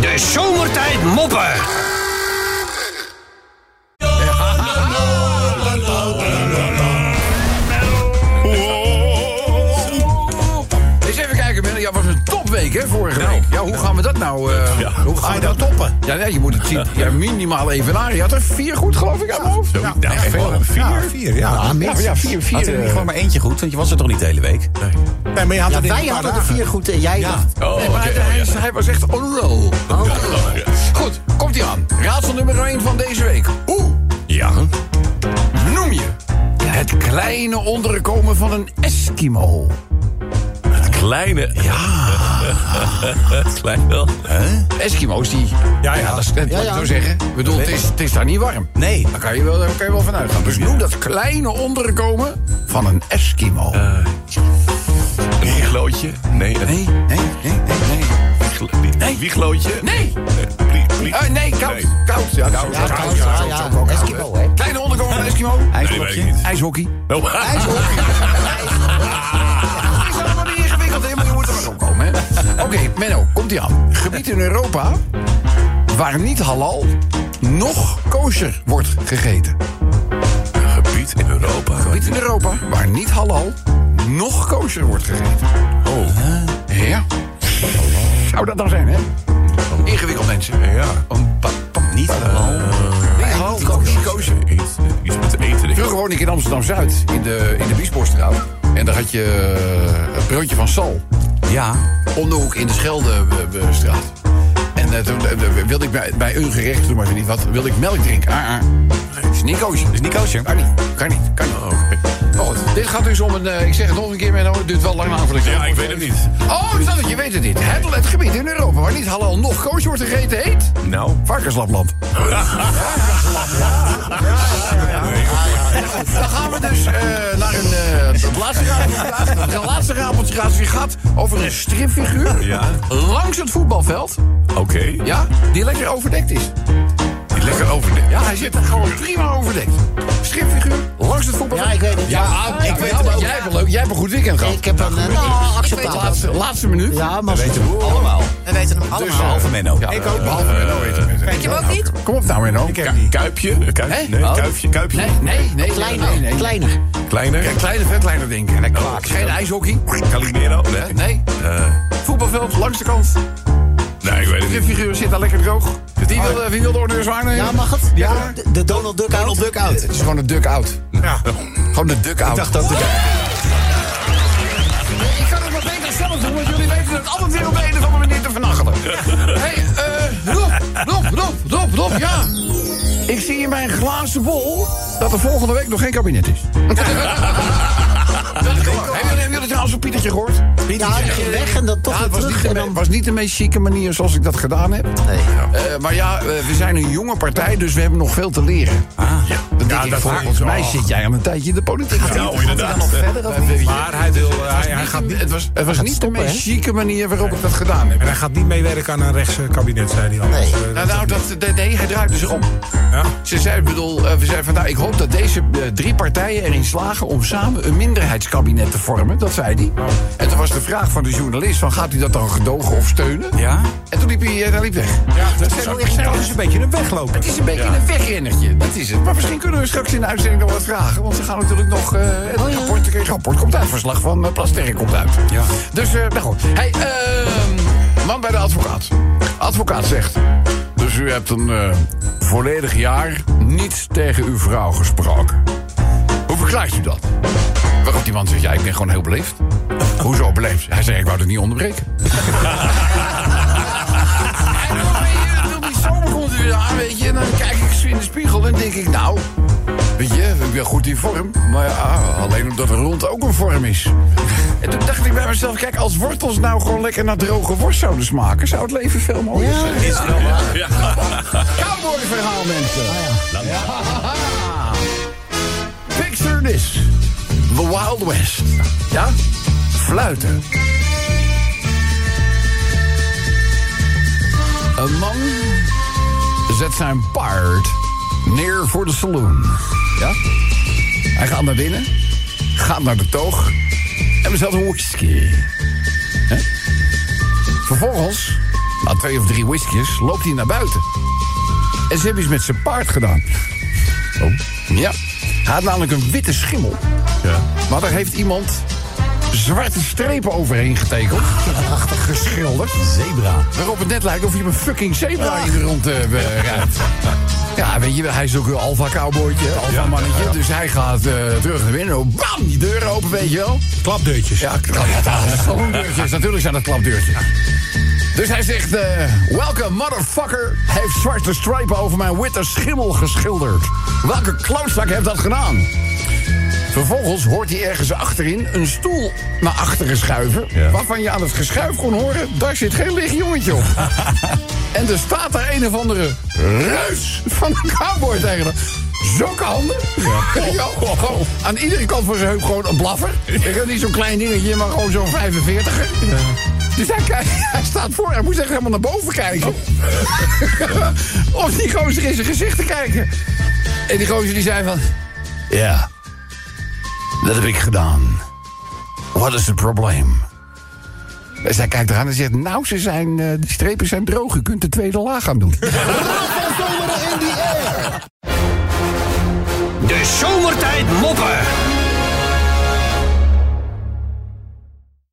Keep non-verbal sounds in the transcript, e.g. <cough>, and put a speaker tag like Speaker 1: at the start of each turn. Speaker 1: De zomertijd moppen.
Speaker 2: Eens even kijken, Ben. Ja, was een topweek, hè, vorige week. Ja, hoe gaan we dat nou... eh, hoe gaan we dat toppen? Ja, nee, je moet het zien. Ja, minimaal evenaren. Je had er vier goed, geloof ik, aan mijn hoofd.
Speaker 3: Nou,
Speaker 2: Ja,
Speaker 4: Ja,
Speaker 2: echt wel.
Speaker 4: veel. Ja, vier, ja. ja,
Speaker 2: Ja, maar ja, vier, vier.
Speaker 3: Had er niet
Speaker 2: eh,
Speaker 3: gewoon maar eentje goed, want je was er toch niet de hele week?
Speaker 4: Nee, maar je had
Speaker 5: Ja,
Speaker 4: het in
Speaker 5: wij
Speaker 4: een paar
Speaker 5: hadden er
Speaker 4: dagen.
Speaker 5: vier goed en jij dacht.
Speaker 3: Oh,
Speaker 2: Nee, maar hij- hij, is- hij was echt on roll. Oh. Goed, komt hij aan. Raadsel nummer 1 van deze week. Hoe
Speaker 3: Ja.
Speaker 2: noem je het kleine onderkomen van een Eskimo?
Speaker 3: Het kleine. Ja. <laughs> het klein wel.
Speaker 2: Eskimo's die...
Speaker 4: Ja, ja.
Speaker 2: dat is, dat moet ik
Speaker 5: ja.
Speaker 2: zo zeggen. Ik bedoel, het is, het is daar niet warm.
Speaker 3: Nee.
Speaker 2: Daar kan je wel, daar kan je wel van uitgaan. Dus noem dat kleine onderkomen van een Eskimo.
Speaker 3: Een wieglootje? Nee. Een
Speaker 2: nee, nee, nee, nee, nee.
Speaker 3: wieglo- die- een wieglootje?
Speaker 2: Nee!
Speaker 3: Nee. Brie- brie-
Speaker 2: Eh, nee, koud.
Speaker 3: Nee.
Speaker 2: Koud. Ja, koud.
Speaker 5: Ja,
Speaker 2: koud,
Speaker 5: trouwens,
Speaker 2: ja,
Speaker 5: ja,
Speaker 2: koud,
Speaker 5: ja,
Speaker 2: koud, koud,
Speaker 5: Eskimo, hè.
Speaker 2: Kleine onderkomen van een Eskimo.
Speaker 3: Nee, weet ik niet.
Speaker 2: IJshockey.
Speaker 3: Oh.
Speaker 2: Dat
Speaker 3: <laughs>
Speaker 2: is allemaal niet ingewikkeld, hè, maar je moet er maar opkomen. hè. Oké, Menno, komt ie aan. Gebied in Europa waar niet halal, nog kosher wordt gegeten.
Speaker 3: Een gebied in Europa.
Speaker 2: Gebied in Europa waar niet halal, nog kosher wordt gegeten. Oh. Ja. Zou dat dan zijn, hè? Ingewikkeld, mensen.
Speaker 3: Ja.
Speaker 2: Oh, Niet halal. Nee, halal, kosher, kosher.
Speaker 3: Iets, iets met eten. denk ik.
Speaker 2: Vroeger woonde ik in Amsterdam-Zuid, in de, in de Biesbosstraat. En daar had je eh, het broodje van Sal.
Speaker 3: Ja.
Speaker 2: om de hoek in de eh, Scheldestraat. En eh, toen eh, wilde ik bij, bij een gerecht, toen maar niet wat, wilde ik melk drinken. Ah, ah. Is niet koosje. Is niet koosje. Kan niet, kan niet, kan
Speaker 3: Oh,
Speaker 2: niet. Maar goed, dit gaat dus om een, eh, ik zeg het nog een keer, Menno, het duurt wel lang aan voor de
Speaker 3: Ja, ik weet het niet.
Speaker 2: Oh, ik dacht dat je weet het niet. Het, het gebied in Europa waar niet halal nog koosje wordt gegeten heet...
Speaker 3: Nou.
Speaker 2: Varkenslapland. <laughs> Dan gaan we dus eh, naar een, eh, het laatste rafeltje. De laatste rafeltje gaat zich gehad over een stripfiguur.
Speaker 3: Ja.
Speaker 2: Langs het voetbalveld.
Speaker 3: Oké.
Speaker 2: Ja, die lekker overdekt is.
Speaker 3: Die Lekker over.
Speaker 2: Ja, hij zit er gewoon prima overdekt. Stripfiguur, langs het voetbalveld.
Speaker 5: Ja, ik weet het. Ja,
Speaker 2: ah, ik weet het ook. Jij hebt, een leuk, jij hebt een goed weekend gehad.
Speaker 5: Ik heb een eh, nou, acceptabel.
Speaker 2: Laatste, laatste minuut.
Speaker 5: Ja,
Speaker 3: Allemaal.
Speaker 5: maar
Speaker 6: We weten hem allemaal.
Speaker 2: Dus, eh,
Speaker 3: Behalve Menno.
Speaker 2: ja, ik ook. Behalve Menno weet het.
Speaker 6: Weet je hem ook niet?
Speaker 2: Kom op nou, Menno.
Speaker 3: Ku- Kuipje? Kuip-
Speaker 2: Hè?
Speaker 3: Nee,
Speaker 2: Oh.
Speaker 3: kuipje. Kuipje.
Speaker 2: Nee, nee, nee.
Speaker 5: kleiner,
Speaker 2: nee, nee.
Speaker 5: kleiner.
Speaker 3: Kleiner.
Speaker 2: Ja, kleine vetlijnen denken. En klaar. Geen ijshockey.
Speaker 3: Calimero? Nee.
Speaker 2: Nee.
Speaker 3: Eh,
Speaker 2: Voetbalveld, langs de kant.
Speaker 3: nee, ik weet het
Speaker 2: De
Speaker 3: niet.
Speaker 2: figuur zit daar lekker droog. Wie wil, wie wil de orde zwaar nemen?
Speaker 5: Ja, mag het?
Speaker 2: Ah. Ja.
Speaker 5: De, de Donald Duck out.
Speaker 2: Het is gewoon een duck-out.
Speaker 4: Ja.
Speaker 2: Gewoon de duck-out. Ik
Speaker 4: dacht ook de-
Speaker 2: kan het maar beter zelf doen, want jullie weten het altijd weer op de een of andere manier te vernachelen. Hé, eh, Rob, Rob, Rob, Rob, Rob, ja. Ik zie in mijn glazen bol dat er volgende week nog geen kabinet is. <laughs> dat is gewoon. Hebben hebben jullie trouwens een Pietertje gehoord?
Speaker 5: Ja, die ging weg en dan toch
Speaker 2: Ja,
Speaker 5: weer
Speaker 2: het was niet,
Speaker 5: terug.
Speaker 2: de,
Speaker 5: En
Speaker 2: me-
Speaker 5: dan,
Speaker 2: was niet de meest chique manier zoals ik dat gedaan heb.
Speaker 5: nee.
Speaker 2: Eh, maar ja, eh, we zijn een jonge partij, dus we hebben nog veel te leren. Ah, ja, dat denk ik,
Speaker 4: dat
Speaker 2: volgens
Speaker 4: ik
Speaker 2: mij
Speaker 4: wel.
Speaker 2: zit jij aan een tijdje in de politiek.
Speaker 3: Nou, inderdaad.
Speaker 2: verder of <laughs> niet?
Speaker 4: Maar hij, wil, eh, hij, hij gaat niet,
Speaker 2: Het was, het was niet
Speaker 5: stoppen,
Speaker 2: de meest
Speaker 5: hè?
Speaker 2: chique manier waarop ik dat gedaan heb.
Speaker 4: en hij gaat niet meewerken aan een rechtse kabinet, zei hij al.
Speaker 5: Nee.
Speaker 4: Dus, eh,
Speaker 2: Nou, nou dat, dat- nee, hij draaide zich om.
Speaker 4: ja.
Speaker 2: Ze zei, ik bedoel, eh, we zeiden van, nou, ik hoop dat deze eh, drie partijen erin slagen om samen een minderheidskabinet te vormen. Dat zei hij. En toen was de vraag van de journalist, van, gaat hij dat dan gedogen of steunen?
Speaker 3: Ja?
Speaker 2: En toen liep hij, eh, hij liep weg.
Speaker 4: ja, dat is ook echt nou, het is een beetje een weglopen.
Speaker 2: Het is een beetje een wegrennertje, dat is het. Maar misschien kunnen we straks in de uitzending nog wat vragen. Want ze gaan natuurlijk nog... eh het
Speaker 5: ja.
Speaker 2: rapport, het rapport komt uit, verslag van eh, Plasterk komt uit. Ja. Dus, eh nou goed. Hey, ehm, man bij de advocaat. Advocaat zegt... Dus u hebt een eh, volledig jaar niet tegen uw vrouw gesproken. Hoe verklaart u dat? Waarop die man zegt, ja, ik ben gewoon heel beleefd. Hoezo beleefd? Hij zei, ik wou het niet onderbreken. En dan ben je- dan die zomer komt er weer aan, weet je. En dan kijk ik zo in de spiegel en denk ik, nou... Weet je, ik ben goed in vorm. Maar ja, alleen omdat rond ook een vorm is. En toen dacht ik bij mezelf, kijk, als wortels nou gewoon lekker naar droge worst zouden smaken... zou het leven veel mooier zijn.
Speaker 3: Is wel waar.
Speaker 2: Cowboyverhaal, mensen. Ja. Picture this. The Wild West. Ja? Fluiten. Een man zet zijn paard neer voor de saloon. Ja? Hij gaat naar binnen, gaat naar de toog en bestelt een whisky. Hè? Vervolgens Na twee of drie whiskies loopt hij naar buiten. En ze hebben iets met zijn paard gedaan. Oh. Ja. Hij had namelijk een witte schimmel.
Speaker 3: Ja.
Speaker 2: Maar daar heeft iemand zwarte strepen overheen <laughs> getekend. Geschilderd.
Speaker 1: Zebra.
Speaker 2: Waarop het net lijkt of je een fucking zebra in de rond eh, be- rijdt. Ja, weet je, hij is ook een alfa cowboytje, alfa mannetje. Dus hij gaat eh, terug naar binnen. Oh, Bam, die deur open, weet je wel.
Speaker 4: Klapdeurtjes.
Speaker 2: Dus- Ja, klapdeurtjes. Natuurlijk zijn dat klapdeurtjes. Dus hij zegt, eh, welke motherfucker heeft zwarte stripen over mijn witte schimmel geschilderd? Welke klootzak heeft dat gedaan? Vervolgens hoort hij ergens achterin een stoel naar achteren schuiven...
Speaker 3: Ja.
Speaker 2: waarvan je aan het geschuif kon horen, daar zit geen licht jongetje op. en er staat daar een of andere reus van een cowboy tegen hem. Zulke handen. <laughs> Ja, gewoon Aan iedere kant van zijn heup gewoon een blaffer. Ik heb niet zo'n klein dingetje, maar gewoon zo'n 45er. Dus hij, kijkt- <laughs> hij staat voor, hij moet echt helemaal naar boven kijken. <laughs> Om die gozer in zijn gezicht te kijken. En die gozer die zei van... Ja, dat heb ik gedaan. Wat is het probleem? En zij kijkt eraan en zegt... Nou, ze zijn, eh, die strepen zijn droog, u kunt de tweede laag gaan doen.
Speaker 6: De zomertijd moppen.